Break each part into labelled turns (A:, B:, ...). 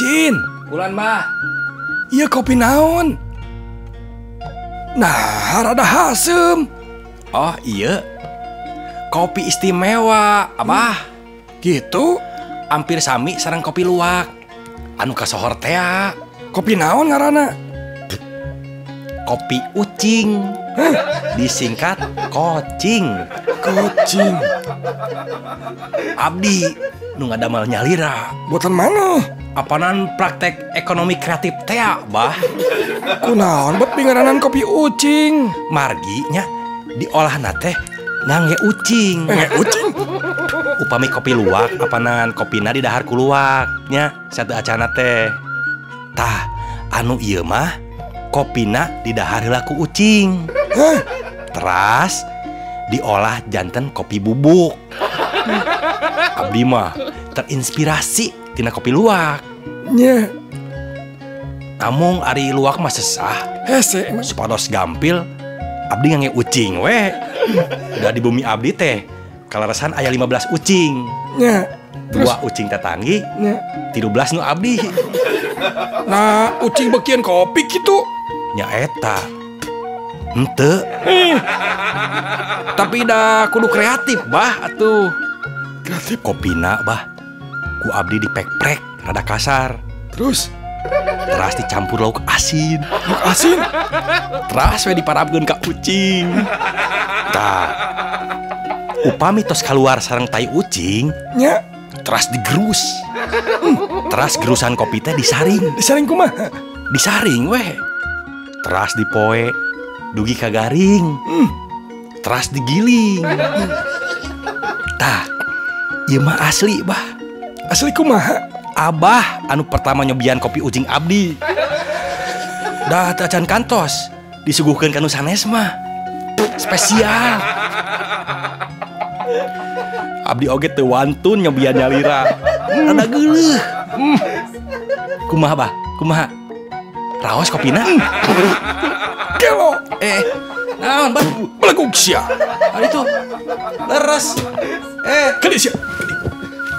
A: Jin,
B: Wulan mah,
A: iya kopi naon? Nah, rada hasem. Oh iya, kopi istimewa, abah.
C: Hmm,
A: Gitu? Hampir sami sarang kopi luwak. Anu kasohor tea. Kopi naon ngarana? Kopi ucing. Disingkat kocing. Kocing. Abdi nu ngadamel nyalira.
C: Buatan mana?
A: Apanan praktek ekonomi kreatif teh, Bah?
C: Kunaon bet pingaranan kopi ucing.
A: Marginya diolah teh ngangge ucing.
C: Eh, ucing.
A: Upami kopi luwak apanan kopina di dahar ku luwaknya satu acana teh. Tah, anu ieu mah kopina di dahar heula ku ucing. Teras diolah jantan kopi bubuk. Abdi mah terinspirasi tina kopi luwak.
C: Nya,
A: Namun ari luwak mah sesah
C: hese emang.
A: Sepados gampil Abdi ngange ucing we Udah di bumi Abdi teh Kalarasan ayah 15 ucing
C: Nya. Terus,
A: Dua ucing tatanggi
C: nya.
A: Tidu belas nu Abdi
C: Nah, ucing bekian kopi gitu.
A: Nyaeta Ente Tapi dah kudu kreatif bah atuh Kreatif Kopina bah Ku Abdi di pek-prek Rada kasar
C: Terus,
A: Teras dicampur lauk asin
C: lauk asin.
A: Teras we diparabkeun ka ucing. Tah. Upami tos keluar sarang tai ucing,
C: Nya,
A: teras digerus. Hmm, Teras gerusan kopi teh disaring,
C: disaring kumah.
A: disaring weh. Teras dipoe, dugi ka garing. Hmm, Teras digiling. Hmm. Tah. Ieu mah asli, Bah.
C: Asli kumah.
A: Abah anu pertama nyobian kopi ucing Abdi. Dah teu acan kantos, disuguhkeun ka nu sanes mah. Spesial. Abdi oge teu wantun nyobian nyalira. Rada geuleuh. Hmm. Kumaha, Bah? Kumaha? Raos kopina?
C: Gelo.
A: Eh, naon, Bah?
C: Belakuk sia.
A: Ari tuh. Leres. Eh,
C: Kali sia.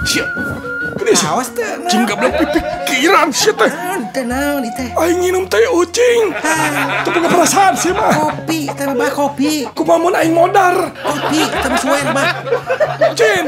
C: Sia. Kali sia.
D: Awas teh.
A: nah.
C: Cing gablek pipikiran sia teh.
D: Naon teh naon ieu teh.
C: Aing nginum teh ucing. Teu punya perasaan sih mah.
D: Kopi teh bah kopi.
C: Kumamun aing modar.
D: Kopi teh suwe bah.
C: Jin.